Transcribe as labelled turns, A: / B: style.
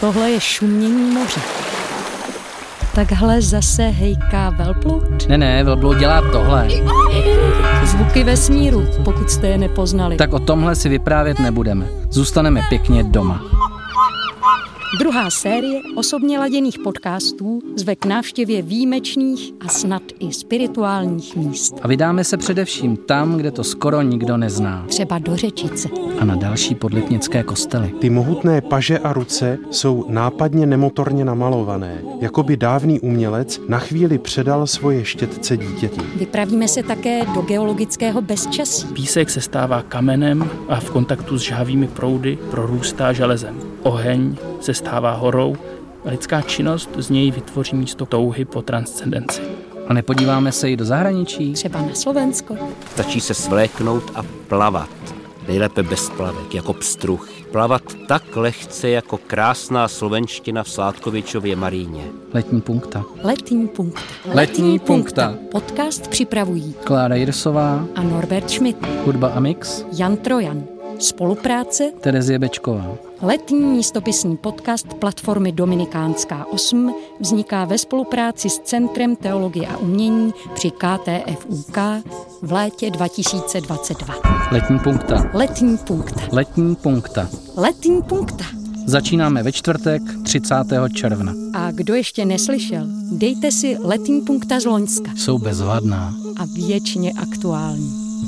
A: Tohle je šumění moře. Takhle zase hejká velbloud.
B: Ne, ne, velbloud dělá tohle.
A: Zvuky vesmíru, pokud jste je nepoznali.
B: Tak o tomhle si vyprávět nebudeme. Zůstaneme pěkně doma.
A: Druhá série osobně laděných podcastů zve k návštěvě výjimečných a snad i spirituálních míst.
B: A vydáme se především tam, kde to skoro nikdo nezná.
A: Třeba do Řečice.
B: A na další podlipnické kostely.
C: Ty mohutné paže a ruce jsou nápadně nemotorně namalované, jako by dávný umělec na chvíli předal svoje štětce dítěti.
A: Vypravíme se také do geologického bezčasí.
D: Písek se stává kamenem a v kontaktu s žhavými proudy prorůstá železem. Oheň se stává horou a lidská činnost z něj vytvoří místo touhy po transcendenci.
B: A nepodíváme se i do zahraničí?
A: Třeba na Slovensko.
E: Stačí se svléknout a plavat. Nejlépe bez plavek, jako pstruh. Plavat tak lehce, jako krásná slovenština v Sládkovičově Maríně.
B: Letní punkta.
A: Letní punkta.
B: Letní punkta.
A: Podcast připravují
B: Klára Jirsová,
A: a Norbert Schmidt,
B: Hudba a Mix,
A: Jan Trojan. Spolupráce
B: Terezie Bečková.
A: Letní místopisní podcast platformy Dominikánská 8 vzniká ve spolupráci s Centrem teologie a umění při KTFUK v létě 2022.
B: Letní punkta.
A: Letní punkta.
B: Letní punkta.
A: Letní punkta.
B: Začínáme ve čtvrtek 30. června.
A: A kdo ještě neslyšel, dejte si letní punkta z Loňska
B: Jsou bezvadná.
A: a věčně aktuální.